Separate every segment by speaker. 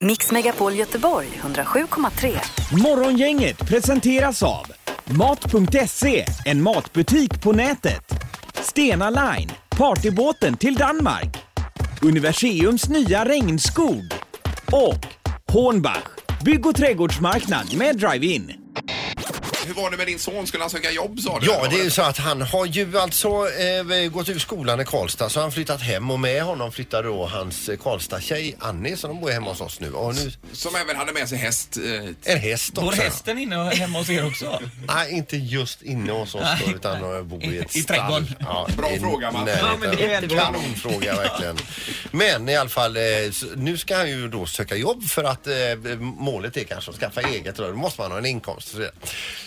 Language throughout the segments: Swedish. Speaker 1: Mix Megapol Göteborg 107,3.
Speaker 2: Morgongänget presenteras av Mat.se, en matbutik på nätet. Stena Line, partybåten till Danmark. Universiums nya regnskog. Och Hornbach, bygg och trädgårdsmarknad med drive-in.
Speaker 3: Hur var det med din son? Skulle han söka jobb sa du?
Speaker 4: Ja, det är ju så att han har ju alltså eh, gått ur skolan i Karlstad så han flyttat hem och med honom flyttar då hans eh, Karlstad-tjej Annie som de bor hemma hos oss nu. Och nu
Speaker 3: Som även hade med sig häst. eh,
Speaker 4: en häst också.
Speaker 5: Går hästen inne och hemma hos er också?
Speaker 4: Nej, inte just inne hos oss då,
Speaker 5: Nej.
Speaker 4: utan de bor i ett
Speaker 5: I
Speaker 4: stall.
Speaker 5: trädgården.
Speaker 4: Ja,
Speaker 3: Bra
Speaker 4: i
Speaker 3: fråga, Mats.
Speaker 4: närheten.
Speaker 3: Ja,
Speaker 5: men det är jättebra.
Speaker 4: Kanonfråga verkligen. Men i alla fall, eh, s- nu ska han ju då söka jobb för att eh, målet är kanske att skaffa eget. Då Då måste man ha en inkomst. och Så, vidare.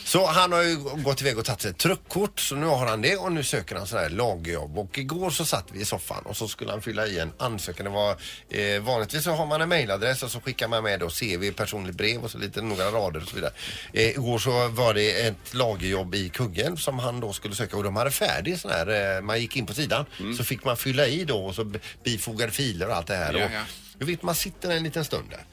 Speaker 4: så han har ju gått iväg och tagit sig ett truckkort. Så nu har han det och nu söker han sådana här lagjobb. Och igår så satt vi i soffan och så skulle han fylla i en ansökan. Det var, eh, vanligtvis så har man en mailadress och så skickar man med då CV, personligt brev och så lite några rader och så vidare. Eh, igår så var det ett lagerjobb i Kungälv som han då skulle söka och de hade färdig sån här, eh, man gick in på sidan
Speaker 3: Mm.
Speaker 4: så fick man fylla i då och så b- bifogade filer och allt det här.
Speaker 3: Ja,
Speaker 4: och,
Speaker 3: ja.
Speaker 4: du vet, man sitter en liten stund där.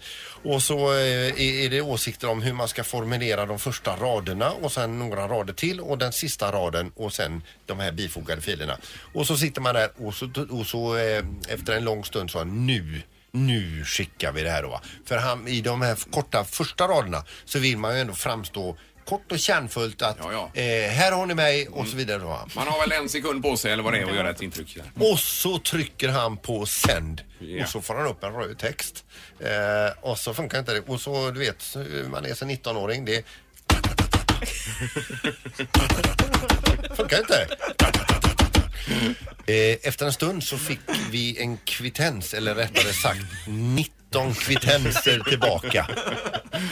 Speaker 4: Och så eh, är är det åsikter om hur man ska formulera de första raderna och sen några rader till och den sista raden och sen de här bifogade filerna. Och så sitter man där och så, och så eh, efter en lång stund så nu nu skickar vi det här då. va." För han, i de här korta första raderna så vill man ju ändå framstå kort och kärnfullt att
Speaker 3: Ja, ja.
Speaker 4: Eh, här har ni mig och så vidare. Då. va.
Speaker 3: Man har väl en sekund på sig eller vad det är att göra ett intryck. Där.
Speaker 4: Och så trycker han på sänd
Speaker 3: Ja.
Speaker 4: och så får han upp en röd text. Eh, och så funkar inte det. Och så du vet, så- man är som 19-åring. Det funkar inte. Eh, efter en stund så fick vi en kvittens, eller rättare sagt 19 kvittenser tillbaka.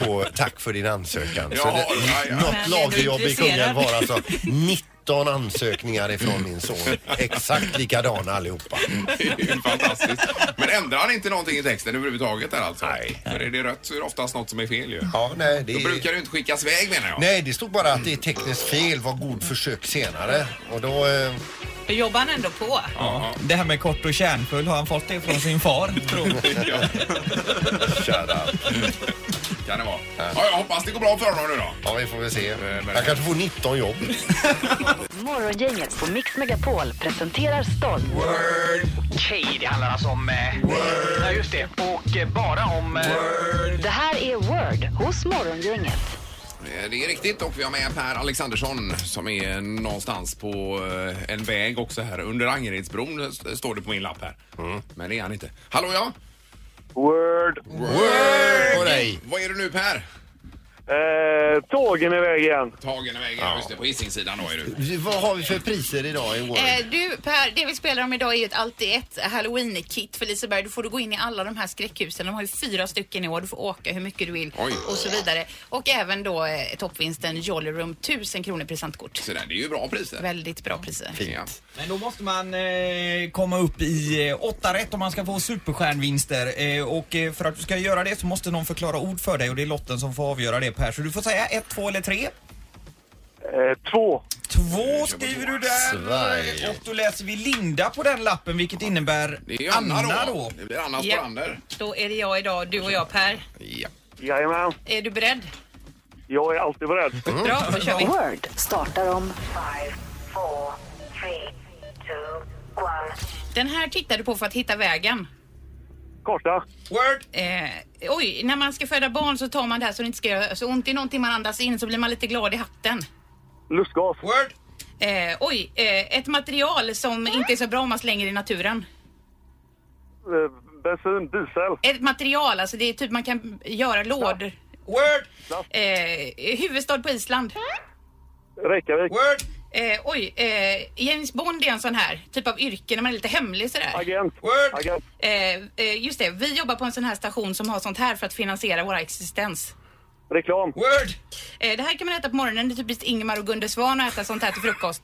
Speaker 4: På, tack för din ansökan. så
Speaker 3: Ja,
Speaker 4: det,
Speaker 3: ja, ja.
Speaker 4: Något
Speaker 6: Men jag är
Speaker 4: lagerjobb i
Speaker 6: intresserad.
Speaker 4: Kungälv var alltså 19 ansökningar ifrån min son. Exakt likadana allihopa.
Speaker 3: Det är ju fantastiskt. Men ändrar han inte någonting i texten överhuvudtaget där alltså? Nej. För är det rött så är det oftast något som är fel ju.
Speaker 4: Ja, nej, det
Speaker 3: Då brukar
Speaker 4: är...
Speaker 3: du inte skickas iväg menar jag.
Speaker 4: Nej, det stod bara att det är tekniskt fel. Var god försök senare. Och då... Eh,
Speaker 6: Då jobbar han ändå på.
Speaker 5: Det här med kort och kärnfull, har han fått det från sin far? Tror jag.
Speaker 3: Ja,
Speaker 4: kära...
Speaker 3: kan det vara. Ja, jag hoppas det går bra för honom nu då.
Speaker 4: Ja, vi får väl se.
Speaker 3: Eh, men-
Speaker 4: Jag kanske får 19 jobb.
Speaker 1: Morgongänget på Mix Megapol presenterar stolt.
Speaker 7: Okej, det handlar alltså om... Eh, ja, just det. Och eh, bara om... Eh,
Speaker 1: Det här är Word hos Morgongänget.
Speaker 3: Eh, Det är riktigt och vi har med Per Alexandersson som är någonstans på eh, en väg också här. Under Angeredsbron eh, st- står det på min lapp här.
Speaker 4: Mm.
Speaker 3: Men det är han inte. Hallå ja!
Speaker 8: Word.
Speaker 4: Word på dig!
Speaker 3: Vad är du nu Per?
Speaker 8: Eh, tågen är iväg igen.
Speaker 3: Tagen i vägen, ja. just det, på Hisingssidan då är du.
Speaker 4: Vad har vi för priser idag i Word?
Speaker 6: Eh, du Per, det vi spelar om idag är ju ett allt i ett halloween-kit för Liseberg. Då får du gå in i alla de här skräckhusen. De har ju fyra stycken i år. Du får åka hur mycket du vill
Speaker 3: Oj.
Speaker 6: och så vidare. Och även då eh, toppvinsten Jolly Room 1000 kronor i presentkort.
Speaker 3: Så där, det är ju bra priser.
Speaker 6: Väldigt bra priser.
Speaker 3: Ja.
Speaker 5: Men då måste man eh, komma upp i eh, åtta rätt om man ska få superstjärnvinster. Eh, och eh, för att du ska göra det så måste någon förklara ord för dig och det är lotten som får avgöra det Per. Så du får säga ett, två eller tre.
Speaker 8: Eh, två.
Speaker 5: Två skriver du
Speaker 4: Sverige.
Speaker 5: där. Och då läser vi Linda på den lappen vilket innebär
Speaker 3: Det är ju Anna, då.
Speaker 5: då.
Speaker 3: Det blir Anna
Speaker 6: Ja.
Speaker 3: Sporander.
Speaker 6: Då är det jag idag, du och jag Per.
Speaker 3: Ja.
Speaker 8: Jajamän.
Speaker 6: Är du beredd?
Speaker 8: Jag är alltid beredd.
Speaker 6: Bra, då kör vi.
Speaker 1: Word startar om
Speaker 6: Den här tittar du på för att hitta vägen.
Speaker 8: Korta.
Speaker 5: Word.
Speaker 6: Eh, oj, när man ska föda barn så tar man det här så det inte ska göra så ont. Det är någonting man andas in så blir man lite glad i hatten.
Speaker 8: Lustgas.
Speaker 5: Word.
Speaker 6: Eh, oj, eh, ett material som inte är så bra om man slänger i naturen.
Speaker 8: Eh, bensin. Diesel.
Speaker 6: Ett material, alltså det är typ man kan göra lådor.
Speaker 5: Word.
Speaker 6: Eh, huvudstad på Island.
Speaker 8: Reykjavik.
Speaker 5: Word.
Speaker 6: Eh, oj, eh, James Bond är en sån här typ av yrke när man är lite hemlig sådär.
Speaker 8: Agent.
Speaker 5: Word.
Speaker 8: Agent.
Speaker 6: Eh, eh, just det, vi jobbar på en sån här station som har sånt här för att finansiera våra existens.
Speaker 8: Reklam.
Speaker 5: Word.
Speaker 6: Eh, det här kan man äta på morgonen, det är typiskt Ingemar och Gunde Svan att äta sånt här till frukost.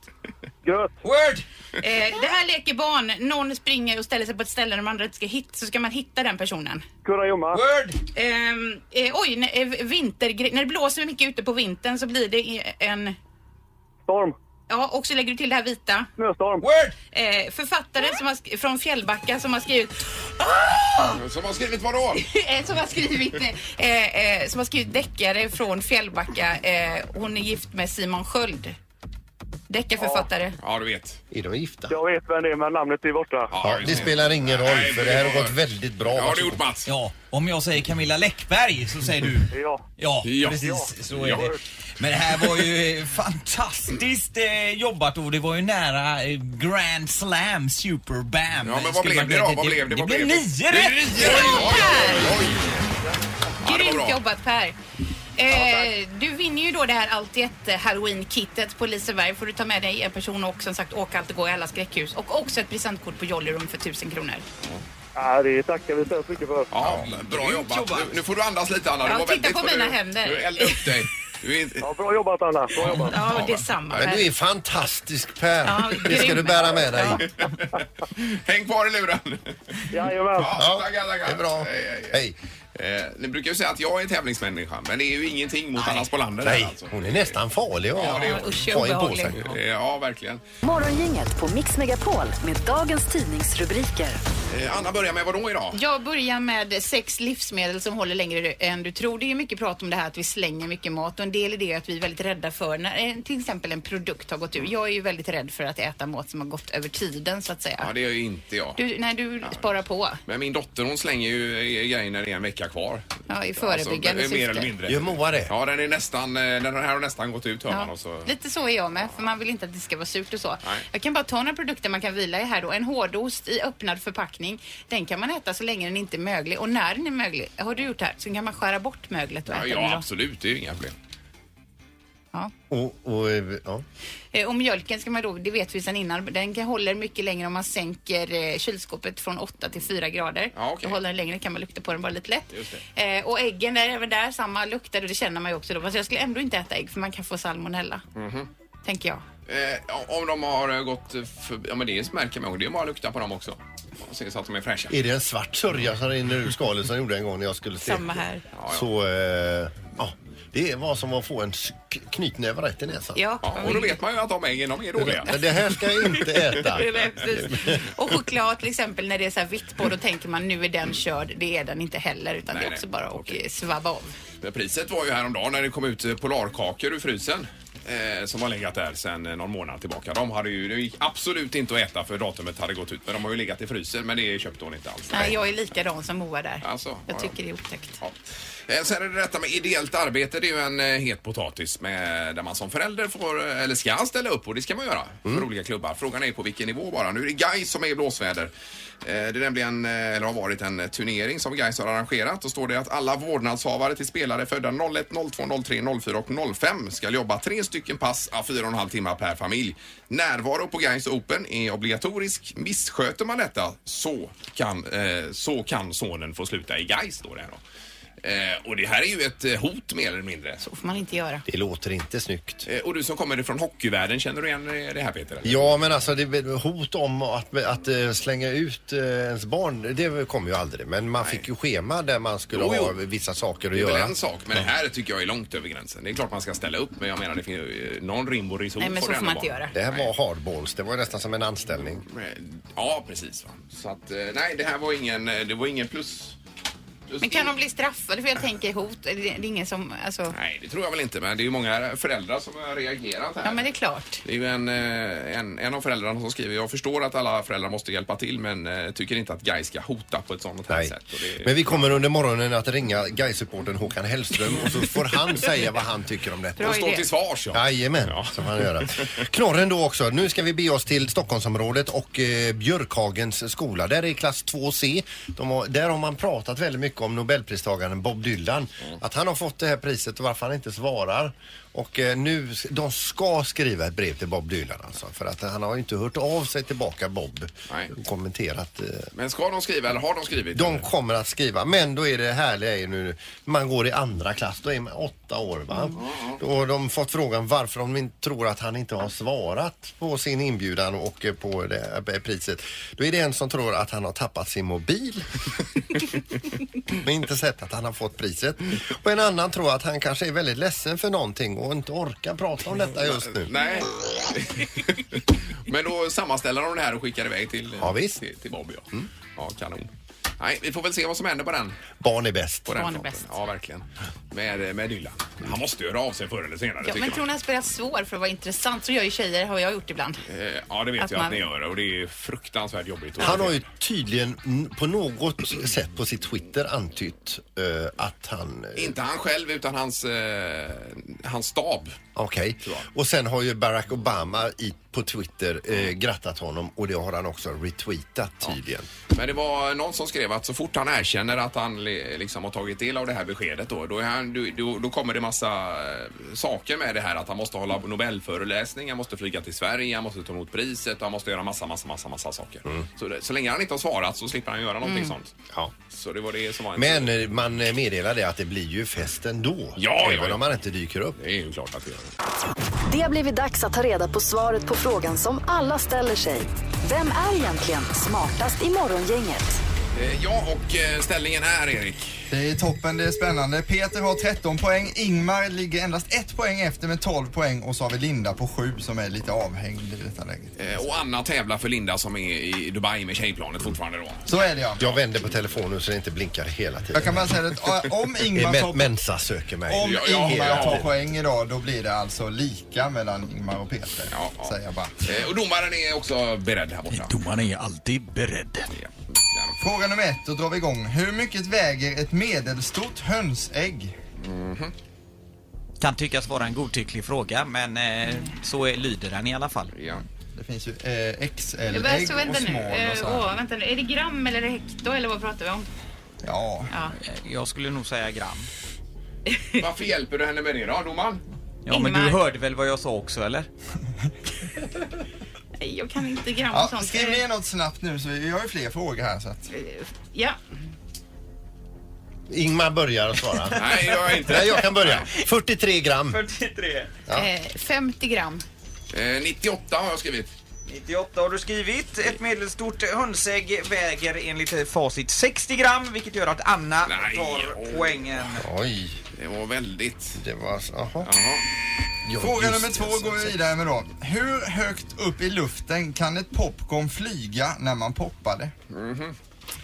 Speaker 8: Gröt.
Speaker 5: Word.
Speaker 6: Eh, det här leker barn. Någon springer och ställer sig på ett ställe där de andra inte ska hitta, så ska man hitta den personen.
Speaker 8: Kurragömma.
Speaker 5: Word.
Speaker 6: Ehm, eh, oj, när, eh, vintergre- när det blåser mycket ute på vintern så blir det en...
Speaker 8: Storm.
Speaker 6: Ja, och så lägger du till det här vita.
Speaker 8: Snöstorm.
Speaker 5: Word!
Speaker 6: Eh, författaren som har sk- från Fjällbacka som har skrivit,
Speaker 3: Som har skrivit vadå?
Speaker 6: eh, som har skrivit, eh, eh, som har skrivit deckare från Fjällbacka. Eh, hon är gift med Simon Sköld. Deckarförfattare.
Speaker 3: Ja, du vet.
Speaker 4: Är de gifta?
Speaker 8: Jag vet vem det är, men namnet är borta.
Speaker 3: Ja,
Speaker 4: Ja,
Speaker 3: just
Speaker 4: det spelar ingen roll
Speaker 3: Nej,
Speaker 4: för det här har gått väldigt bra.
Speaker 3: Ja, har du gjort Mats?
Speaker 5: Ja, om jag säger Camilla Läckberg så säger du
Speaker 8: Ja.
Speaker 5: Ja,
Speaker 3: Ja.
Speaker 5: precis. Så är
Speaker 3: Ja.
Speaker 5: det. Men det här var ju eh, fantastiskt eh, jobbat och det var ju nära eh, Grand Slam Super Bam.
Speaker 3: Ja, men vad
Speaker 5: Skulle
Speaker 3: blev
Speaker 5: man
Speaker 3: det
Speaker 5: kunna-
Speaker 3: då? Vad blev det?
Speaker 5: Det
Speaker 3: Vad
Speaker 5: blev
Speaker 3: blev det?
Speaker 5: nio
Speaker 3: Det är
Speaker 5: rätt!
Speaker 3: nio rätt! Oj, oj, oj. Ja, det var
Speaker 6: Grymt
Speaker 3: bra.
Speaker 6: jobbat Per! Eh, du vinner ju då det här alltid ett eh, halloween-kittet på Liseberg. Får du ta med dig en person och som sagt åka allt och gå i alla skräckhus. Och också ett presentkort på Jolly Room för 1000 kronor.
Speaker 8: Ja, det tackar vi så hemskt mycket för.
Speaker 3: Ja, bra jobbat.
Speaker 5: jobbat.
Speaker 3: Nu, nu får du andas lite Anna. Det
Speaker 6: Ja,
Speaker 3: var
Speaker 6: titta
Speaker 3: väldigt-
Speaker 6: på mina
Speaker 3: du-
Speaker 6: händer.
Speaker 3: Du eldade upp dig. Du är inte...
Speaker 8: Ja, bra jobbat Anna. Bra jobbat.
Speaker 6: Ja, detsamma.
Speaker 4: Men du
Speaker 6: Per.
Speaker 4: är fantastisk Per.
Speaker 6: Ja,
Speaker 4: det ska
Speaker 6: grym.
Speaker 4: du bära med dig.
Speaker 3: Häng kvar i luren.
Speaker 8: Jajamän.
Speaker 4: Ja,
Speaker 3: tackar, tackar.
Speaker 4: det är bra.
Speaker 3: Hej, hej.
Speaker 4: Hej.
Speaker 3: Eh, ni brukar ju säga att jag är tävlingsmänniska, men det är ju ingenting mot Anna Spolander. här,
Speaker 4: Nej,
Speaker 3: alltså.
Speaker 4: hon är nästan farlig att
Speaker 3: Ja, det är hon.
Speaker 6: Usch,
Speaker 4: ha i på sig.
Speaker 6: obehaglig.
Speaker 3: Eh, Ja, verkligen.
Speaker 1: Morgongänget på Mix Megapol med dagens tidningsrubriker.
Speaker 3: Eh, Anna börjar med vadå idag?
Speaker 6: Jag börjar med sex livsmedel som håller längre än du tror. Det är ju mycket prat om det här att vi slänger mycket mat och en del i det är att vi är väldigt rädda för när eh, till exempel en produkt har gått ur. Jag är ju väldigt rädd för att äta mat som har gått över tiden så att säga.
Speaker 3: Ja, det är ju inte jag.
Speaker 6: Du, nej, du sparar på.
Speaker 3: Men min dotter hon slänger ju eh, grejer när det är en vecka kvar.
Speaker 6: Ja, i förebyggande
Speaker 3: Alltså, eh, Mer
Speaker 6: syfte.
Speaker 3: eller mindre.
Speaker 4: Gör Moa det?
Speaker 3: Ja, den är nästan, eh, den här har nästan gått ut hör man.
Speaker 6: Ja,
Speaker 3: Och så...
Speaker 6: Lite så är jag med, för man vill inte att det ska vara surt och så.
Speaker 3: Nej.
Speaker 6: Jag kan bara ta några produkter man kan vila i här då. En hårdost i öppnad förpackning. Den kan man äta så länge den inte är möglig. Och när den är möglig, har du gjort det här, så kan man skära bort möglet och
Speaker 3: Ja,
Speaker 6: äta den
Speaker 3: ja,
Speaker 6: då.
Speaker 3: absolut. Det är ju inga problem.
Speaker 6: Ja.
Speaker 4: Och, och, eh, ja.
Speaker 6: Eh, Och mjölken ska man då, det vet vi sedan innan, den kan, håller mycket längre om man sänker eh, kylskåpet från 8 till 4 grader.
Speaker 3: Ja, okej.
Speaker 6: Då håller den längre, kan man lukta på den bara lite lätt.
Speaker 3: Just
Speaker 6: Eh, och äggen där, även där, samma luktar och det känner man ju också då. Fast jag skulle ändå inte äta ägg för man kan få salmonella.
Speaker 3: Mhm.
Speaker 6: Tänker jag.
Speaker 3: Eh, om de har eh, gått förbi, ja men det märker man ju. Det är bara att lukta på dem också. Och se så att de är fräscha.
Speaker 4: Är det en svart sörja som rinner ur skalet som jag gjorde en gång när jag skulle se?
Speaker 6: Samma här.
Speaker 4: Så, eh, ja. Det var som att få en s- k- knytnäve rätt i näsan.
Speaker 6: Ja,
Speaker 3: Ja, och då vet man ju att de äggen, de är dåliga.
Speaker 4: Men Det här ska jag inte äta.
Speaker 6: Nej, precis. Och choklad till exempel när det är så här vitt på då tänker man nu är den körd. Det är den inte heller utan
Speaker 3: Nej,
Speaker 6: det är också
Speaker 3: nej.
Speaker 6: bara att
Speaker 3: Okej.
Speaker 6: eh, svabba av.
Speaker 3: Men Priset var ju häromdagen när det kom ut eh, polarkakor ur frysen. Eh, som har legat där sedan eh, någon månad tillbaka. De hade ju, det gick absolut inte att äta för datumet hade gått ut. Men de har ju legat i frysen. Men det köpte hon inte alls.
Speaker 6: Nej, jag är likadan som Moa där.
Speaker 3: Alltså, ja,
Speaker 6: jag
Speaker 3: ja.
Speaker 6: tycker det är otäckt.
Speaker 3: Ja. Eh, Sen är det detta med ideellt arbete. Det är ju en eh, het potatis med, där man som förälder får, eh, eller ska ställa upp och det ska man göra för olika klubbar. Frågan är på vilken nivå bara. Nu är det Gais som är i blåsväder. Eh, Det är nämligen, eh, eller har varit en turnering som Gais har arrangerat. Då står det att alla vårdnadshavare till spelare födda 01, 02, 03, 04 och 05 ska jobba tre stycken pass av fyra och en halv timmar per familj. Närvaro på Gais Open är obligatorisk. Missköter man detta så kan, eh, så kan sonen få sluta i Gais, står det här då. Eh, och det här är ju ett eh, hot mer eller mindre.
Speaker 6: Så får man inte göra.
Speaker 4: Det låter inte snyggt.
Speaker 3: Eh, och du som kommer ifrån hockeyvärlden, känner du igen eh, det här Peter? eller?
Speaker 4: Ja, men alltså det, hot om att, att eh, slänga ut eh, ens barn, det kom ju aldrig. Men man fick ju schema där man skulle
Speaker 3: Jo, jo.
Speaker 4: ha vissa saker att
Speaker 3: Det är väl
Speaker 4: göra.
Speaker 3: en sak, men det här tycker jag är långt över gränsen. Det är klart man ska ställa upp, men jag menar det finns ju eh, någon rim och reson
Speaker 6: Nej, men
Speaker 3: får
Speaker 6: så
Speaker 3: det ändå
Speaker 6: får man inte
Speaker 3: vara.
Speaker 6: göra.
Speaker 4: Det här var hardballs, det var ju nästan som en anställning.
Speaker 3: Eh, Ja, precis. Va? Så att, eh, nej, det här var ingen, eh, det var ingen plus. plus-
Speaker 6: Men kan de bli straffade? För jag tänker hot, det det är ingen som, alltså.
Speaker 3: Nej, det tror jag väl inte, men det är ju många föräldrar som har reagerat här.
Speaker 6: Ja men det är klart.
Speaker 3: Det är ju en, eh, en, en av föräldrarna som skriver, jag förstår att alla föräldrar måste hjälpa till men eh, tycker inte att Gais ska hota på ett sånt här
Speaker 4: Nej.
Speaker 3: sätt. Och det,
Speaker 4: Men vi kommer under morgonen att ringa Gais-supportern Håkan Hellström och så får han säga vad han tycker om detta.
Speaker 6: Bra
Speaker 3: och stå
Speaker 6: idé.
Speaker 3: till svars ja.
Speaker 4: Jajamän, som han gör. Knorren då också. Nu ska vi bege oss till Stockholmsområdet och eh, Björkhagens skola. Där är klass 2C. De har, där har man pratat väldigt mycket om Nobelpristagaren Bob Dylan.
Speaker 3: Mm.
Speaker 4: Att han har fått det här priset och varför han inte svarar. Och eh, nu, de ska skriva ett brev till Bob Dylan alltså. För att han har ju inte hört av sig tillbaka Bob.
Speaker 3: Nej.
Speaker 4: och Kommenterat. Eh,
Speaker 3: Men ska de skriva eller har de skrivit?
Speaker 4: de kommer att skriva, men då är det härliga är ju nu, man går i andra klass, då är man åtta år va. Och de fått frågan varför de in- tror att han inte har svarat på sin inbjudan och eh, på det här priset. Då är det en som tror att han har tappat sin mobil. men inte sett att han har fått priset. Och en annan tror att han kanske är väldigt ledsen för någonting och inte orkar prata om detta just nu.
Speaker 3: Nej. Men då sammanställer de det här och skickar iväg till,
Speaker 4: Ja, visst. Mm.
Speaker 3: till, till Bob. Ja. ja, kanon. Nej, vi får väl se vad som händer på den.
Speaker 4: Barn är bäst.
Speaker 3: På den
Speaker 6: Barn är
Speaker 3: fronten.
Speaker 6: bäst.
Speaker 3: Ja, verkligen. Med, eh, med Dylan. Han måste ju höra av sig förr eller senare.
Speaker 6: Ja,
Speaker 3: tycker
Speaker 6: men
Speaker 3: man.
Speaker 6: tror ni han spelar svår för att vara intressant? Så gör ju tjejer, har jag gjort ibland.
Speaker 3: Eh, Ja, det vet
Speaker 6: att
Speaker 3: jag att
Speaker 6: man-
Speaker 3: ni gör och det är fruktansvärt jobbigt. att-
Speaker 4: Han har ju tydligen mm, på något sätt på sitt Twitter antytt eh, att han... eh,
Speaker 3: Inte han själv utan hans, eh, hans stab.
Speaker 4: Okej. Och sen har ju Barack Obama i, på Twitter eh, grattat honom och det har han också retweetat tydligen.
Speaker 3: Men det var någon som skrev att så fort han erkänner att han li- liksom har tagit del av det här beskedet då, då, är han, då, då, då kommer det massa eh, saker med det här att han måste hålla Nobelföreläsning, han måste flyga till Sverige, han måste ta emot priset och han måste göra massa, massa, massa, massa saker.
Speaker 4: Mm.
Speaker 3: Så, det, så länge han inte har svarat så slipper han göra någonting sånt.
Speaker 4: Ja.
Speaker 3: Så det var det som var en...
Speaker 4: Mm. Men eh, man eh, meddelar det att det blir ju fest ändå.
Speaker 3: ja, ja.
Speaker 4: även om man inte dyker upp.
Speaker 3: Det är ju klart att det gör det.
Speaker 1: Det har blivit dags att ta reda på svaret på frågan som alla ställer sig. Vem är egentligen smartast i morgongänget?
Speaker 3: Eh, Ja, och eh, ställningen är Erik.
Speaker 9: Det är toppen, det är spännande. Peter har 13 poäng, Ingmar ligger endast ett poäng efter med 12 poäng och så har vi Linda på 7 som är lite avhängd i detta läget.
Speaker 3: Eh, Och Anna tävlar för Linda som är i Dubai med tjejplanet fortfarande då.
Speaker 9: Så är det ja.
Speaker 4: Jag vänder på telefonen nu så det inte blinkar hela tiden.
Speaker 9: Jag kan bara säga att eh, om
Speaker 4: Det är
Speaker 9: Ingmar
Speaker 4: men,
Speaker 9: tar,
Speaker 4: Mensa söker mig.
Speaker 9: om
Speaker 3: Ja, ja,
Speaker 9: Ingmar
Speaker 3: ja.
Speaker 9: tar poäng idag då blir det alltså lika mellan Ingmar och Peter.
Speaker 3: Ja, ja.
Speaker 9: Säger jag bara.
Speaker 3: Eh, Och domaren är också beredd här borta.
Speaker 2: Domaren är alltid beredd.
Speaker 3: Ja.
Speaker 9: Fråga nummer ett, då drar vi igång. Hur mycket väger ett medelstort hönsägg?
Speaker 5: Kan tyckas vara en godtycklig fråga men eh, så är, lyder den i alla fall.
Speaker 3: Ja.
Speaker 9: Det finns ju eh,
Speaker 6: Jag
Speaker 9: XL-ägg
Speaker 6: börjar, så vänta
Speaker 9: och
Speaker 6: nu.
Speaker 9: smål och
Speaker 6: Eh,
Speaker 9: så här.
Speaker 6: åh, vänta nu. Är det gram eller är det hekto eller vad pratar vi om?
Speaker 9: Ja,
Speaker 6: Ja.
Speaker 5: Eh, Jag skulle nog säga gram.
Speaker 3: Varför hjälper du henne med det då, domaren?
Speaker 5: Ja men du
Speaker 6: Ingmar.
Speaker 5: hörde väl vad jag sa också eller?
Speaker 6: Nej, jag kan inte gram och
Speaker 9: ja
Speaker 6: sånt.
Speaker 9: skriv
Speaker 6: Eh,
Speaker 9: ner något snabbt nu så vi har ju fler frågor här så att...
Speaker 6: Ja,
Speaker 4: Ingmar börjar att svara.
Speaker 3: Nej, jag är inte.
Speaker 4: Nej, jag kan börja. 43 gram.
Speaker 5: 43.
Speaker 6: Eh, 50 gram.
Speaker 3: Eh, 98 har jag skrivit.
Speaker 5: 98 har du skrivit. Ett medelstort hönsägg väger enligt eh, facit 60 gram vilket gör att Anna
Speaker 3: Nej,
Speaker 5: tar
Speaker 3: åh.
Speaker 5: poängen.
Speaker 4: Oj,
Speaker 3: Det var väldigt...
Speaker 4: det var... så- Jaha.
Speaker 3: Jaha.
Speaker 4: Ja,
Speaker 9: Fråga
Speaker 4: just
Speaker 9: nummer två
Speaker 4: det, som
Speaker 9: går vi
Speaker 4: sagt.
Speaker 9: vidare med då. Hur högt upp i luften kan ett popcorn flyga när man poppar det?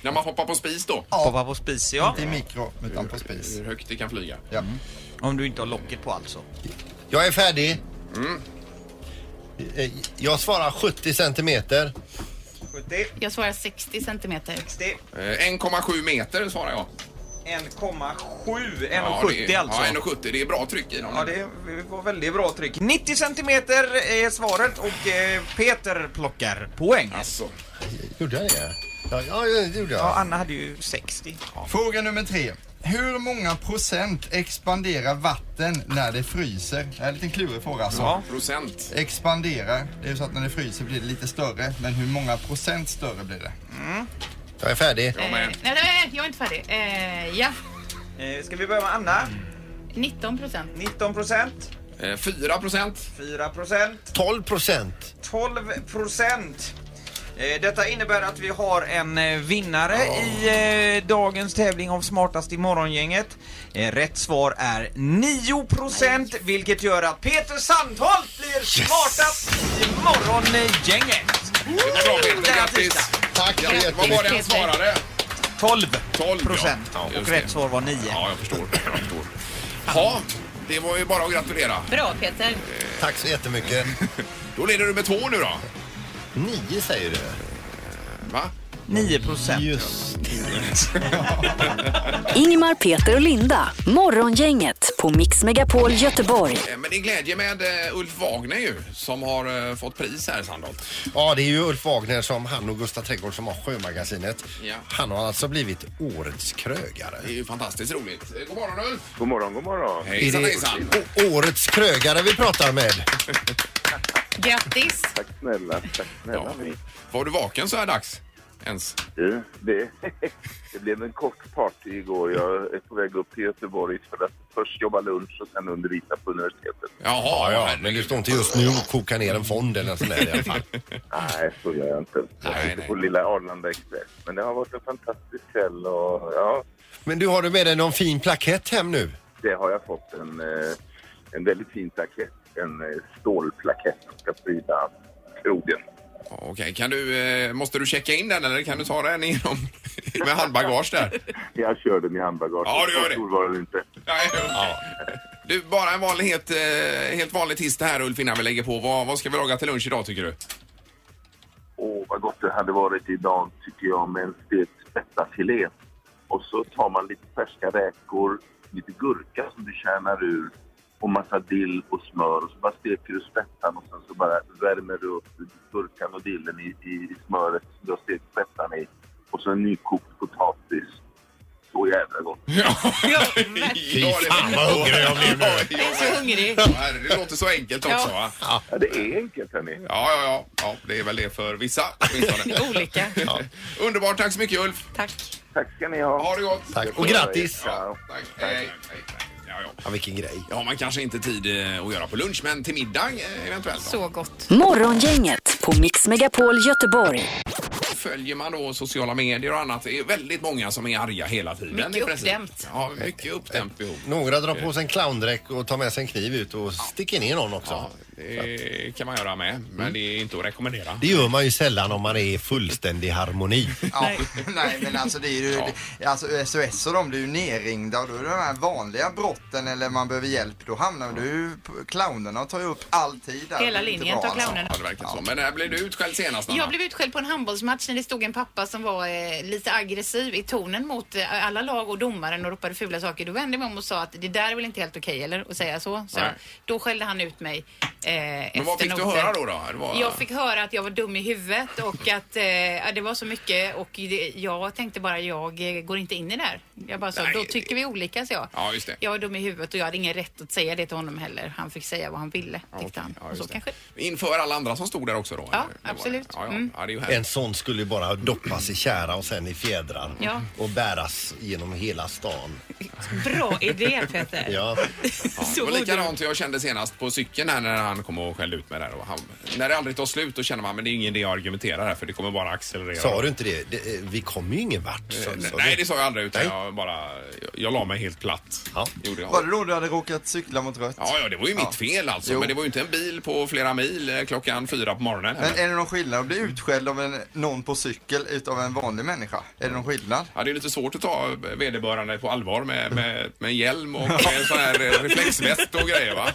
Speaker 3: När man hoppar på spis då.
Speaker 5: Poppa på spis ja.
Speaker 9: Inte i mikro, utan på spis.
Speaker 3: Hur högt det kan flyga.
Speaker 9: Ja.
Speaker 5: Om du inte har locket på alltså.
Speaker 4: Jag är färdig.
Speaker 3: Mm.
Speaker 4: Eh, Jag svarar 70 centimeter.
Speaker 5: 70,
Speaker 6: Jag svarar 60 centimeter.
Speaker 5: 60,
Speaker 3: Eh, 1,7 meter svarar jag.
Speaker 5: 1,7.
Speaker 3: Ja,
Speaker 5: 1,70
Speaker 3: det är-
Speaker 5: alltså.
Speaker 3: Ja, 1,70. Det är bra tryck i dem.
Speaker 5: Ja, det var väldigt bra tryck. 90 centimeter är svaret och eh, Peter plockar poäng.
Speaker 3: Alltså,
Speaker 4: Gjorde jag det? Ja, ja det gjorde
Speaker 5: Ja,
Speaker 4: jag.
Speaker 5: Anna hade ju 60.
Speaker 9: Fråga nummer tre. Hur många procent expanderar vatten när det fryser? Det är en liten klurig fråga alltså.
Speaker 5: Ja.
Speaker 3: procent.
Speaker 9: Expanderar, det är ju så att när det fryser blir det lite större. Men hur många procent större blir det?
Speaker 4: Jag är färdig.
Speaker 3: Ja,
Speaker 6: Eh,
Speaker 3: men-
Speaker 6: nej, nej, jag är inte färdig. Eh, ja,
Speaker 5: Eh, Ska vi börja med Anna?
Speaker 6: 19 procent.
Speaker 5: 19 procent,
Speaker 3: Eh, 4 procent.
Speaker 5: 4 procent,
Speaker 4: 12 procent.
Speaker 5: 12 procent. Eh, Detta innebär att vi har en eh, vinnare i eh, dagens tävling om smartast i morgongänget. Eh, Rätt svar är 9 procent, vilket gör att Peter Sandholt blir smartast i morgongänget.
Speaker 3: Det var bra Peter, grattis.
Speaker 5: Grattis.
Speaker 4: Tack så
Speaker 3: Ja, vad var det han
Speaker 6: Peter.
Speaker 3: svarade?
Speaker 5: 12
Speaker 3: 12
Speaker 5: procent.
Speaker 3: ja. Ja,
Speaker 5: och
Speaker 3: just det.
Speaker 5: rätt svar var 9.
Speaker 3: Ja, jag förstår. Jag förstår. Ja, det var ju bara att gratulera.
Speaker 6: Bra Peter.
Speaker 4: Tack så jättemycket.
Speaker 3: Då leder du med två nu då.
Speaker 4: Nio säger du?
Speaker 3: Va?
Speaker 5: 9 procent.
Speaker 4: Just
Speaker 1: Ingmar, Peter och Linda. Morgongänget på Mix Megapol Göteborg.
Speaker 3: Eh, Men det är glädje med eh, Ulf Wagner ju, som har eh, fått pris här i Sandholt.
Speaker 4: Ja, det är ju Ulf Wagner som han och Gustaf Trädgård som har Sjömagasinet.
Speaker 3: Ja.
Speaker 4: Han har alltså blivit årets krögare.
Speaker 3: Det är ju fantastiskt roligt. Eh, God morgon Ulf!
Speaker 8: God morgon, god morgon.
Speaker 3: Hejsan
Speaker 4: det
Speaker 3: hejsan!
Speaker 4: å- årets krögare vi pratar med?
Speaker 6: Grattis.
Speaker 8: Tack snälla, tack snälla
Speaker 3: Ja. Var du vaken så här dags? Ens?
Speaker 8: Du, det, det blev en kort party igår. Jag är på väg upp till Göteborg för att först jobba lunch och sen undervisa på universitetet.
Speaker 3: Jaha,
Speaker 4: men
Speaker 3: herregud.
Speaker 4: du står inte just nu och kokar ner en fond eller något sånt där i alla fall.
Speaker 8: Nej, så gör jag inte. Jag
Speaker 3: Nej,
Speaker 8: sitter
Speaker 3: nej.
Speaker 8: på lilla Arlanda Express. Men det har varit en fantastisk kväll och ja,
Speaker 4: Men du, har du med dig någon fin plakett hem nu?
Speaker 8: Det har jag fått en, eh, en väldigt fin plakett. En eh, stålplakett som ska pryda krogen.
Speaker 3: Ja, Okej, kan du, eh, måste du checka in den eller kan du ta den inom, med handbagage där?
Speaker 8: Jag kör den i handbagaget.
Speaker 3: Ja, du gör
Speaker 8: Så
Speaker 3: det.
Speaker 8: stor var den inte.
Speaker 3: Nej, okej. Du, bara en vanlig, helt, eh, helt vanlig tist här Ulf innan vi lägger på. Vad, vad ska vi laga till lunch idag tycker du?
Speaker 8: Åh, vad gott det hade varit idag, tycker jag, med en stekt spettafilé. Och så tar man lite färska räkor, lite gurka som du kärnar ur och massa dill och smör. Och så bara steker du spettan och sen så bara värmer du upp gurkan och dillen i, i, i smöret som du har stekt spettan i. Och så en nykokt potatis. Så jävla gott.
Speaker 3: Ja,
Speaker 4: Fy fan vad hungrig jag blev nu.
Speaker 3: jag
Speaker 6: Jag är så hungrig.
Speaker 3: Det låter så enkelt också va? Ja,
Speaker 8: Ja, det är enkelt, hörni.
Speaker 3: ja, ja. ja det är väl det för vissa åtminstone.
Speaker 6: Olika.
Speaker 3: Underbart, tack så mycket Ulf.
Speaker 6: Tack.
Speaker 8: Tack ska ni ha.
Speaker 3: Ha det gott.
Speaker 4: Tack. Och grattis!
Speaker 8: Ja.
Speaker 3: Tack. Hej, hej, hej. Ja, ja.
Speaker 4: Ja, vilken grej.
Speaker 3: Det har man kanske inte tid eh, att göra på lunch, men till middag eh, eventuellt. då.
Speaker 6: Så gott.
Speaker 1: Morgongänget på Mix Megapol Göteborg.
Speaker 3: Följer man då sociala medier och annat, det är väldigt många som är arga hela tiden.
Speaker 6: Mycket
Speaker 3: i princip.
Speaker 6: uppdämt.
Speaker 3: Ja, mycket uppdämt behov.
Speaker 4: Några drar på sig en clowndräkt och tar med sig en kniv ut och sticker ner någon också.
Speaker 3: Ja, det kan man göra med,
Speaker 4: Mm.
Speaker 3: men det är inte att rekommendera.
Speaker 4: Det gör man ju sällan om man är i fullständig harmoni.
Speaker 9: Ja, nej men alltså det är ju, det- alltså SOS och de blir ju nerringda och då är det de här vanliga brotten eller man behöver hjälp, då hamnar du ju, på- clownerna tar ju upp all tid där.
Speaker 6: Hela
Speaker 9: Det är inte
Speaker 6: linjen
Speaker 9: bra, alltså.
Speaker 6: tar clownerna.
Speaker 3: Ja, det verkar så. Men när blev du utskälld senast, Anna?
Speaker 6: Jag blev utskälld på en handbollsmatch när det stod en pappa som var eh, lite aggressiv i tonen mot eh, alla lag och domaren och ropade fula saker. Då vände jag mig om och sa att det där är väl inte helt okej eller? Att säga så. så
Speaker 3: Nej.
Speaker 6: då skällde han ut mig. Eh,
Speaker 3: Men vad fick du höra då? då? Det var...
Speaker 6: Jag fick höra att jag var dum i huvudet och att eh, ja, det var så mycket och det, jag tänkte bara jag eh, går inte in i det här. Jag bara sa,
Speaker 3: Nej,
Speaker 6: då
Speaker 3: det-
Speaker 6: tycker vi olika så jag.
Speaker 3: Ja, just det.
Speaker 6: Jag var dum i huvudet och jag hade ingen rätt att säga det till honom heller. Han fick säga vad han ville,
Speaker 3: Ja,
Speaker 6: tyckte
Speaker 3: okej.
Speaker 6: han.
Speaker 3: Ja,
Speaker 6: och
Speaker 3: just
Speaker 6: så
Speaker 3: det.
Speaker 6: kanske
Speaker 3: Inför alla andra som stod där också då?
Speaker 6: Ja,
Speaker 3: eller? Det var-
Speaker 6: absolut.
Speaker 3: Ja, ja.
Speaker 6: Mm.
Speaker 3: Ja, det är ju
Speaker 4: En
Speaker 3: härligt.
Speaker 4: sån skulle ju bara doppas i kära och sen i fjädrar
Speaker 6: Ja.
Speaker 4: och bäras genom hela stan.
Speaker 6: Bra idé Peter.
Speaker 4: Ja.
Speaker 3: Det
Speaker 6: så
Speaker 3: var
Speaker 6: god
Speaker 3: likadant jag kände senast på cykeln här när han kom och skällde ut mig där. Och han, när det aldrig tar slut då känner man men det är ingen idé att argumentera här för det kommer bara accelerera.
Speaker 4: Sa du inte det? det eh, vi kom ju ingen vart. sa-
Speaker 3: Eh,
Speaker 4: sa
Speaker 3: Nej,
Speaker 4: du.
Speaker 3: det sa jag aldrig utan
Speaker 4: Nej.
Speaker 3: jag bara, jag, jag la mig helt platt.
Speaker 4: Ja.
Speaker 3: Gjorde jag.
Speaker 9: Var det då du hade råkat cykla mot rött?
Speaker 3: Ja, ja, det var ju mitt
Speaker 9: Ja.
Speaker 3: fel alltså.
Speaker 9: Jo.
Speaker 3: Men det var ju inte en bil på flera mil eh, klockan fyra på morgonen.
Speaker 9: Men
Speaker 3: Här.
Speaker 9: är det någon skillnad att bli utskälld av en, någon på cykel utav en vanlig människa? Är det någon skillnad?
Speaker 3: Ja, det är lite svårt att ta vederbörande på allvar med, med, med hjälm och med sån här eh, reflexväst och grejer va?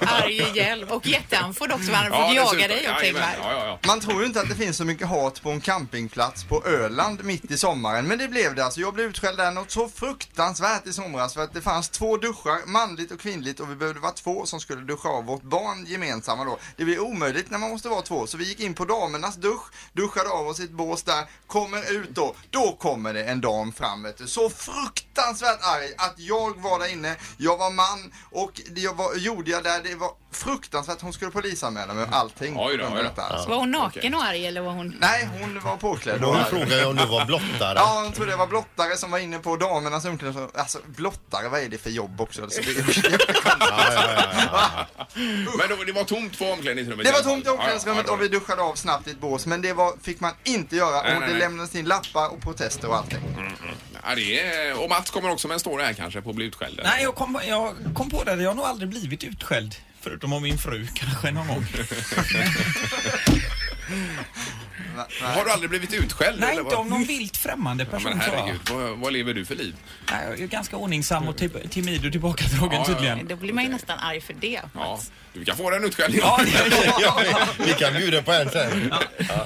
Speaker 6: Arg hjälm och jätteanfådd också för han hade fått
Speaker 3: dessutom.
Speaker 6: jaga dig och
Speaker 3: Jajamän,
Speaker 6: Ingmar.
Speaker 3: ja, ja, ja.
Speaker 9: Man tror ju inte att det finns så mycket hat på en campingplats på Öland mitt i sommaren, men det blev det alltså. Jag blev utskälld där något så fruktansvärt i somras för att det fanns två duschar, manligt och kvinnligt, och vi behövde vara två som skulle duscha av vårt barn gemensamma då. Det blir omöjligt när man måste vara två, så vi gick in på damernas dusch, duschade av oss i ett bås där, kommer ut då, då kommer det en dam fram vet du. Så fruktansvärt arg att jag var där inne, jag var man och det jag var, gjorde jag där, det var fruktansvärt. Hon skulle polisanmäla mig och allting.
Speaker 3: Oj då,
Speaker 9: på
Speaker 3: oj
Speaker 9: grund av
Speaker 3: då.
Speaker 9: detta, alltså.
Speaker 6: Var hon naken och arg eller var hon...
Speaker 9: Nej, hon var påklädd.
Speaker 4: Hon frågade ju om du var blottare.
Speaker 9: Ja, hon trodde jag var blottare som var inne på damernas omklädningsrum. Alltså blottare, vad är det för jobb också? Alltså, det,
Speaker 4: Ja, ja, ja, ja.
Speaker 3: Men då, det var tomt på omklädningsrummet.
Speaker 9: det var tomt i omklädningsrummet
Speaker 3: Ja, ja,
Speaker 9: och vi duschade av snabbt i ett bås, men det var, fick man inte göra
Speaker 3: Nej, nej,
Speaker 9: och det
Speaker 3: nej. Mm.
Speaker 9: lämnades in lappar och protester och allting.
Speaker 3: ja, det är, och Mats kommer också med en story här kanske på att bli utskälld.
Speaker 10: Nej, jag kom, jag kom på det. Jag har nog aldrig blivit utskälld. Förutom av min fru kanske någon gång.
Speaker 9: Nej,
Speaker 3: Har du aldrig blivit utskälld?
Speaker 10: Nej,
Speaker 3: eller
Speaker 10: inte
Speaker 3: vad?
Speaker 10: av någon vilt främmande
Speaker 3: Ja,
Speaker 10: person
Speaker 3: men
Speaker 10: tror jag.
Speaker 3: herregud, vad, vad lever du för liv?
Speaker 10: Nej, jag är ganska ordningsam och typ, timid och tillbakadragen
Speaker 3: Ja, ja, ja.
Speaker 10: tydligen.
Speaker 6: Då blir man ju nästan arg för det.
Speaker 3: Ja, du kan få den utskällningen
Speaker 10: Ja,
Speaker 4: Ja, vi kan bjuda på en sen.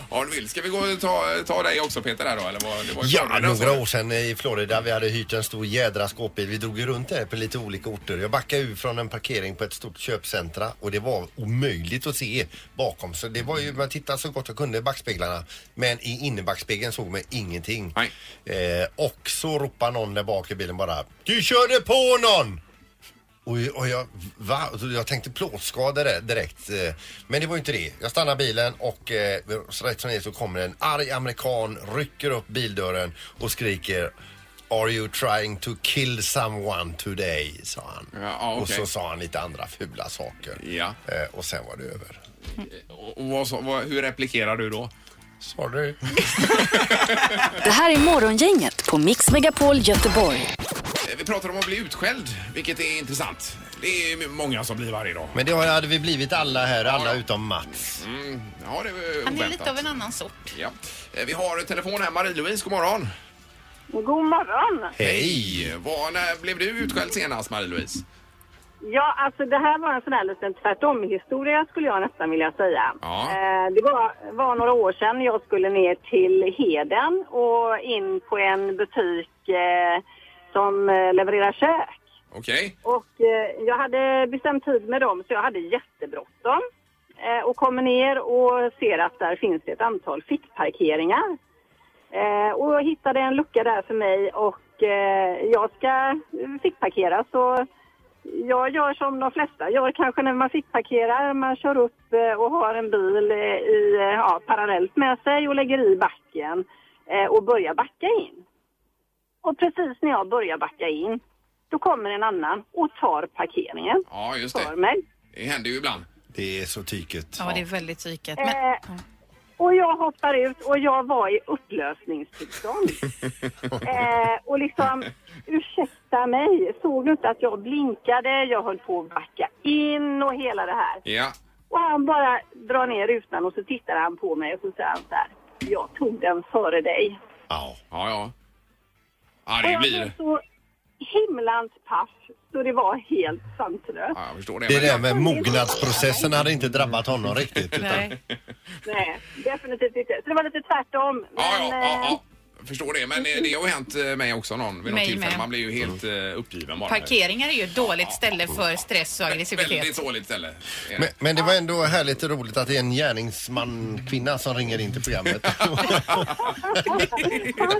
Speaker 3: om du vill. Ska vi gå och ta, ta dig också Peter där då? Eller vad, det var alltså. ju
Speaker 4: Ja,
Speaker 3: förberedda,
Speaker 4: några
Speaker 3: så.
Speaker 4: år sedan i Florida. Vi hade hyrt en stor jädra skåpbil. Vi drog ju runt där på lite olika orter. Jag backade ur från en parkering på ett stort köpcentra och det var omöjligt att se bakom. Så det var ju, man tittade så gott jag kunde i backspeglarna. Men i innerbackspegeln såg man ingenting.
Speaker 3: Nej.
Speaker 4: Eh, och så ropade någon där bak i bilen bara Du körde på någon! Och, jag- och jag, va? Och så Jag tänkte plåtskada det direkt. eh, Men det var ju inte det. Jag stannar bilen och eh, så rätt som det är så kommer en arg amerikan, rycker upp bildörren och skriker Are you trying to kill someone today? sa han.
Speaker 3: Ja, ja,
Speaker 4: Och
Speaker 3: okej.
Speaker 4: så sa han lite andra fula saker.
Speaker 3: Ja.
Speaker 4: Eh, och sen var det över.
Speaker 3: Och, och vad, sa- vad, hur replikerar du då?
Speaker 4: Sorry.
Speaker 1: Det här är Morgongänget på Mix Megapol Göteborg.
Speaker 3: Eh, vi pratar om att bli utskälld, vilket är intressant. Det är ju många som blir varje dag.
Speaker 4: Men det har- hade vi blivit alla här, alla utom Mats.
Speaker 3: Mm, ja, det är ju
Speaker 6: Han är
Speaker 3: oväntat.
Speaker 6: lite av en annan sort.
Speaker 3: Ja. Eh, Vi har en telefon här. Marie-Louise, god morgon.
Speaker 11: God morgon!
Speaker 3: Hej! Var, när blev du utskälld senast, Marie-Louise?
Speaker 11: Ja, alltså det här var en sån här liten tvärtom-historia skulle jag nästan vilja säga.
Speaker 3: Ja.
Speaker 11: Eh, det var, var några år sedan jag skulle ner till Heden och in på en butik eh, som eh, levererar kök.
Speaker 3: Okej.
Speaker 11: Och eh, jag hade bestämt tid med dem så jag hade jättebråttom. Eh, och kommer ner och ser att där finns det ett antal fickparkeringar. Eh, och jag hittade en lucka där för mig och eh, jag ska fickparkera så jag gör som de flesta gör kanske när man fickparkerar. Man kör upp eh, och har en bil eh, i, eh, ja, parallellt med sig och lägger i backen eh, och börjar backa in. Och precis när jag börjar backa in då kommer en annan och tar parkeringen
Speaker 3: Ja, just
Speaker 11: för
Speaker 3: det.
Speaker 11: mig.
Speaker 3: Det händer ju ibland.
Speaker 4: Det är så tyket.
Speaker 6: Ja, det är väldigt psykat. Men,
Speaker 11: Eh, och jag hoppar ut och jag var i upplösningstillstånd. eh, och liksom, ursäkta mig, såg du inte att jag blinkade? Jag höll på att backa in och hela det här.
Speaker 3: Ja.
Speaker 11: Och han bara drar ner rutan och så tittar han på mig och så säger han så här. Jag tog den före dig.
Speaker 4: Ja.
Speaker 3: Ja, ja. Ja,
Speaker 11: Och
Speaker 3: det
Speaker 11: jag
Speaker 3: blir
Speaker 11: blev så himlans paff så det var helt sanslöst.
Speaker 3: Ja, jag förstår det.
Speaker 4: Det
Speaker 3: men-
Speaker 4: där med mognadsprocessen hade inte drabbat honom riktigt. Utan,
Speaker 6: nej.
Speaker 11: Nej, definitivt inte. Så det var lite tvärtom. Men,
Speaker 3: Ja, ja, ja,
Speaker 11: eh,
Speaker 3: ja. Jag förstår det. Men eh, det har ju hänt eh, mig också någon vid något
Speaker 6: Mig
Speaker 3: tillfälle.
Speaker 6: med.
Speaker 3: Man blir ju helt
Speaker 4: Mm.
Speaker 3: eh, uppgiven bara.
Speaker 6: Parkeringar är ju ett dåligt ställe för stress och
Speaker 3: Väldigt
Speaker 6: aggressivitet.
Speaker 3: dåligt ställe. är det.
Speaker 4: men, men det var ändå härligt och roligt att det är en gärningsman, kvinna som ringer in till programmet.
Speaker 11: ja,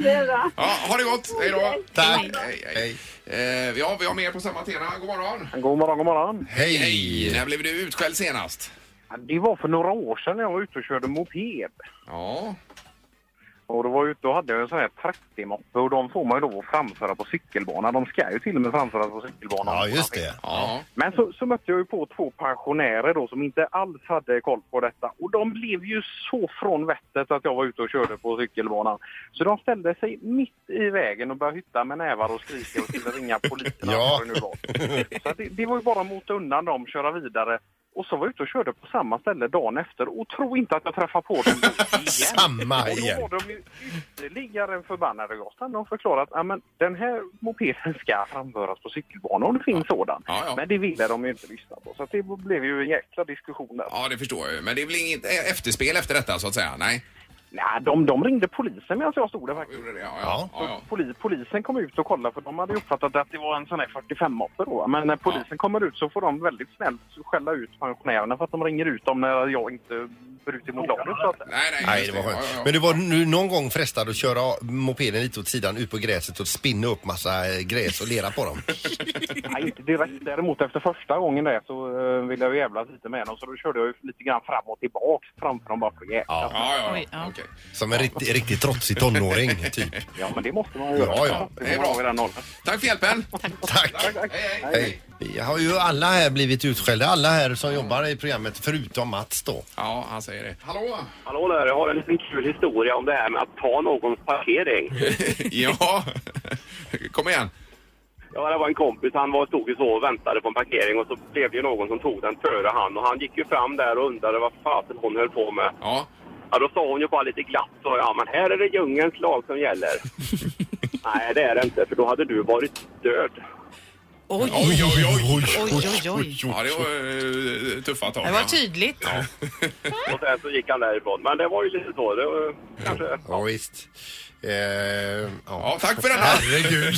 Speaker 11: det är bra.
Speaker 3: Ja, ha det gott. Hej då.
Speaker 4: Tack.
Speaker 3: Hej, hej. Eh, ja, vi har mer på samma tema. God morgon.
Speaker 8: God morgon, god morgon.
Speaker 4: Hej.
Speaker 3: Hej. När blev du utskälld senast?
Speaker 8: Det var för några år sedan när jag var ute och körde moped.
Speaker 3: Ja.
Speaker 8: Och då, var jag ute och hade jag en sån här 30-moppe och de får man ju då framföra på cykelbanan. De ska ju till och med framföras på cykelbanan.
Speaker 4: Ja, just det.
Speaker 3: Ja.
Speaker 8: Men så, så mötte jag ju på två pensionärer då som inte alls hade koll på detta. Och de blev ju så från vettet att jag var ute och körde på cykelbanan. Så de ställde sig mitt i vägen och började hytta med nävar och skrika och skulle ringa polisen. eller
Speaker 4: Ja.
Speaker 8: vad det, nu var. Så att det, det var ju bara att mota undan dem, köra vidare. Och så var jag ute och körde på samma ställe dagen efter och tro inte att jag träffade på dem igen.
Speaker 4: Samma
Speaker 8: Och då
Speaker 4: igen.
Speaker 8: var de ju ytterligare förbannade Gotland. De förklarade att "Ja, men, den här mopeden ska framföras på cykelbanan om det finns sådan.
Speaker 3: Ja, ja.
Speaker 8: Men det ville de ju inte lyssna på. Så att det blev ju en jäkla diskussion där.
Speaker 3: ja, det förstår jag ju. Men det blir inget eh, efterspel efter detta så att säga? Nej.
Speaker 8: Nej, de, de ringde polisen medan jag stod där faktiskt.
Speaker 3: Gjorde det? Ja, ja. ja. ja,
Speaker 8: Poli, polisen kom ut och kollade för de hade ju uppfattat att det var en sån här 45-moppe då. Men när polisen kommer ut så får de väldigt snällt skälla ut pensionärerna för att de ringer ut dem när jag inte brutit mot lagen. Så att,
Speaker 3: Nej, nej.
Speaker 4: Nej,
Speaker 3: just
Speaker 4: det var
Speaker 3: Ja,
Speaker 4: skönt.
Speaker 3: ja, ja.
Speaker 4: Men du var nu någon gång frestad att köra mopeden lite åt sidan ut på gräset och spinna upp massa eh, gräs och lera på dem?
Speaker 8: Nej, inte direkt. Däremot efter första gången där så eh, ville jag ju jävlas lite med dem så då körde jag ju lite grann fram och tillbaks framför dem bara för att jävlas.
Speaker 4: Ja,
Speaker 3: Ja, ja,
Speaker 6: Oj,
Speaker 3: ja.
Speaker 6: ja.
Speaker 3: Okej.
Speaker 4: som en riktigt, riktigt trotsig tonåring, typ.
Speaker 8: Ja, men det måste man ju
Speaker 4: Ja,
Speaker 8: göra.
Speaker 4: ja.
Speaker 8: Det
Speaker 3: Det är
Speaker 8: är bra
Speaker 3: bra.
Speaker 8: i den åldern.
Speaker 3: Tack för hjälpen.
Speaker 4: Tack!
Speaker 3: Hej, hej.
Speaker 4: Hej. Vi har ju alla här blivit utskällda, alla här som jobbar i programmet, förutom Mats då.
Speaker 3: Ja, han säger det. Hallå!
Speaker 8: Hallå där, jag har en liten kul historia om det här med att ta någons parkering.
Speaker 3: ja. Kom igen.
Speaker 8: Ja, det var en kompis. Han var, stod ju så och väntade på en parkering och så blev det ju någon som tog den före han. Och han gick ju fram där och undrade vad fasen hon höll på med.
Speaker 3: Ja.
Speaker 8: Ja, då sa hon ju bara lite glatt så, ja men här är det djungelns lag som gäller. Nej, det är det inte, för då hade du varit död.
Speaker 6: Oj,
Speaker 3: Oj, oj, oj.
Speaker 6: oj, oj, oj.
Speaker 3: Ja, det var eh, tuffa tag.
Speaker 6: Det var tydligt.
Speaker 8: Och sen så gick han därifrån. Men det var ju lite så. Det var, kanske,
Speaker 4: Ja, visst. Eh, ja.
Speaker 3: Ja, tack för den här.
Speaker 4: Herregud.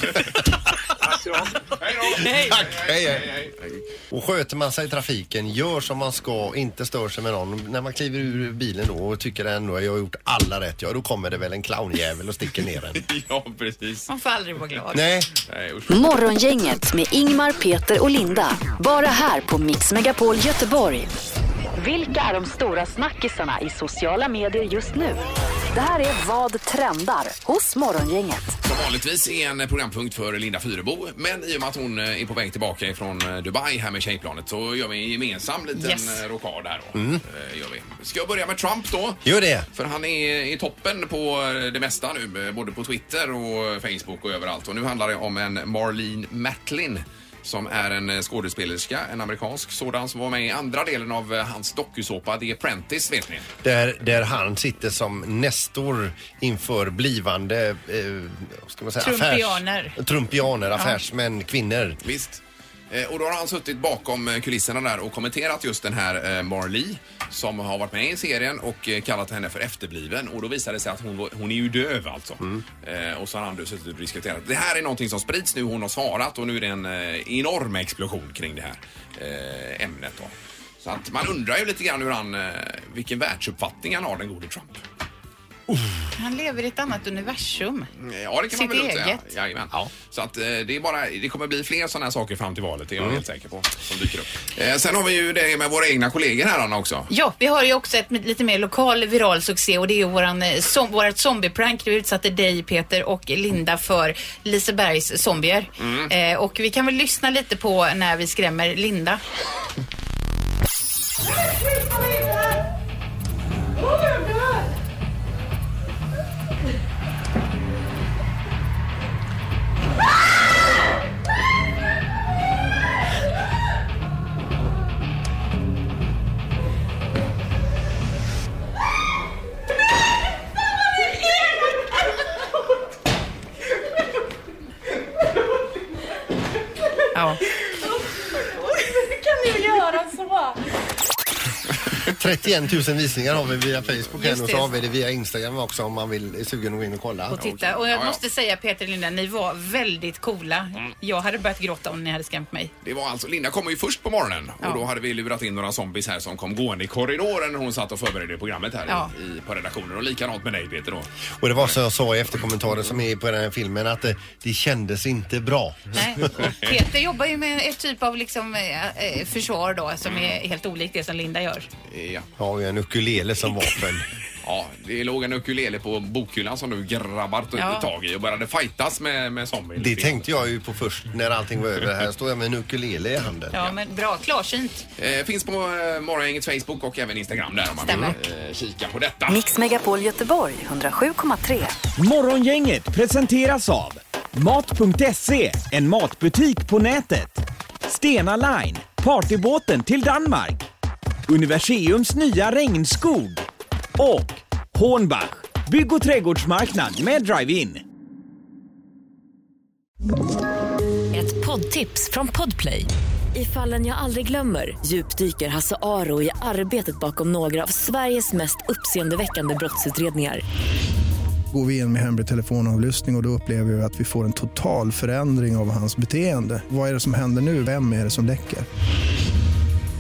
Speaker 3: Hej då.
Speaker 4: Tack. Hej, hej.
Speaker 3: Hej, hej.
Speaker 4: Och sköter man sig i trafiken, gör som man ska, inte stör sig med någon. När man kliver ur bilen då och tycker ändå att jag har gjort alla rätt, ja då kommer det väl en clownjävel och sticker ner en.
Speaker 3: Ja, precis.
Speaker 6: Man får aldrig vara glad.
Speaker 4: Nej,
Speaker 3: Nej, usch.
Speaker 1: Morgongänget med Ingmar, Peter och Linda. Bara här på Mix Megapol Göteborg. Vilka är de stora snackisarna i sociala medier just nu? Det här är Vad trendar hos Morgongänget.
Speaker 3: Som vanligtvis är en programpunkt för Linda Fyrebo. Men i och med att hon eh, är på väg tillbaka ifrån eh, Dubai här med tjejplanet så gör vi en gemensam liten
Speaker 6: Yes.
Speaker 3: yes. rockad här då. Eh, Gör vi. Ska jag börja med Trump då?
Speaker 4: Gör det.
Speaker 3: För han är i toppen på eh, det mesta nu, eh, både på Twitter och Facebook och överallt. Och nu handlar det om en Marlene Matlin som är en eh, skådespelerska, en amerikansk sådan som var med i andra delen av eh, hans dokusåpa The Apprentice, vet ni.
Speaker 4: Där, där han sitter som nestor inför blivande eh, vad ska man säga,
Speaker 6: Trumpianer.
Speaker 4: Affärs, trumpianer, affärsmän, kvinnor.
Speaker 3: Visst. Eh, Och då har han suttit bakom eh, kulisserna där och kommenterat just den här eh, Marlee som har varit med i serien och eh, kallat henne för efterbliven. Och då visade det sig att hon, var- hon är ju döv alltså. Eh, Och så har han då suttit och diskuterat. Det här är någonting som sprids nu. Hon har svarat och nu är det en eh, enorm explosion kring det här eh, ämnet då. Så att man undrar ju lite grann hur han, eh, vilken världsuppfattning han har den gode Trump.
Speaker 6: Han lever i ett annat universum.
Speaker 3: Ja, det kan man
Speaker 6: Sitt
Speaker 3: väl lugnt säga.
Speaker 6: eget.
Speaker 3: Jajamän. Så att eh, det är bara, det kommer bli fler sådana här saker fram till valet, det är jag helt säker på, som dyker upp. Eh, sen har vi ju det med våra egna kollegor här Anna också.
Speaker 6: Ja, vi har ju också ett lite mer lokal viral succé och det är ju våran, eh, som, vårat zombie-prank. Vi utsatte dig Peter och Linda för Lisebergs zombier. Eh, och vi kan väl lyssna lite på när vi skrämmer Linda. Ja.
Speaker 12: kan ni göra så?
Speaker 4: 31 000 visningar har vi via Facebook här
Speaker 6: Just
Speaker 4: och
Speaker 6: det.
Speaker 4: så har vi det via Instagram också om man vill, är sugen att gå in och kolla.
Speaker 6: Och titta. Och jag måste säga Peter och Linda, ni var väldigt coola. Jag hade börjat gråta om ni hade skrämt mig.
Speaker 3: Det var alltså, Linda kom ju först på morgonen och då hade vi lurat in några zombies här som kom gående i korridoren när hon satt och förberedde programmet här
Speaker 6: Ja.
Speaker 3: i, i, på redaktionen och likadant med dig Peter då.
Speaker 4: Och det var som jag sa i efterkommentaren som är på den här filmen att det, det kändes inte bra.
Speaker 6: Nej. Peter jobbar ju med ett typ av liksom, eh, eh, försvar då som är helt olikt det som Linda gör.
Speaker 3: Eh, Ja.
Speaker 4: Jag har ju en ukulele som vapen.
Speaker 3: Ja, det låg en ukulele på bokhyllan som du grabbar
Speaker 4: Ja.
Speaker 3: tag i och började fightas med, med zombies.
Speaker 4: Det tänkte jag ju på först när allting var över. Här står jag med en ukulele i handen.
Speaker 6: Ja, men bra. Klarsynt.
Speaker 3: Eh, finns på eh, Morgongängets Facebook och även Instagram där om man vill eh, kika på detta.
Speaker 1: Mix Megapol Göteborg 107,3.
Speaker 2: Morgongänget presenteras av Mat.se, en matbutik på nätet. Stena Line, partybåten till Danmark. Universiums nya regnskog. Och Hornbach, bygg och trädgårdsmarknad med drive-in.
Speaker 13: Ett poddtips från Podplay. I fallen jag aldrig glömmer djupdyker Hasse Aro i arbetet bakom några av Sveriges mest uppseendeväckande brottsutredningar.
Speaker 14: Går vi in med hemlig telefonavlyssning och, och då upplever vi att vi får en total förändring av hans beteende. Vad är det som händer nu? Vem är det som läcker?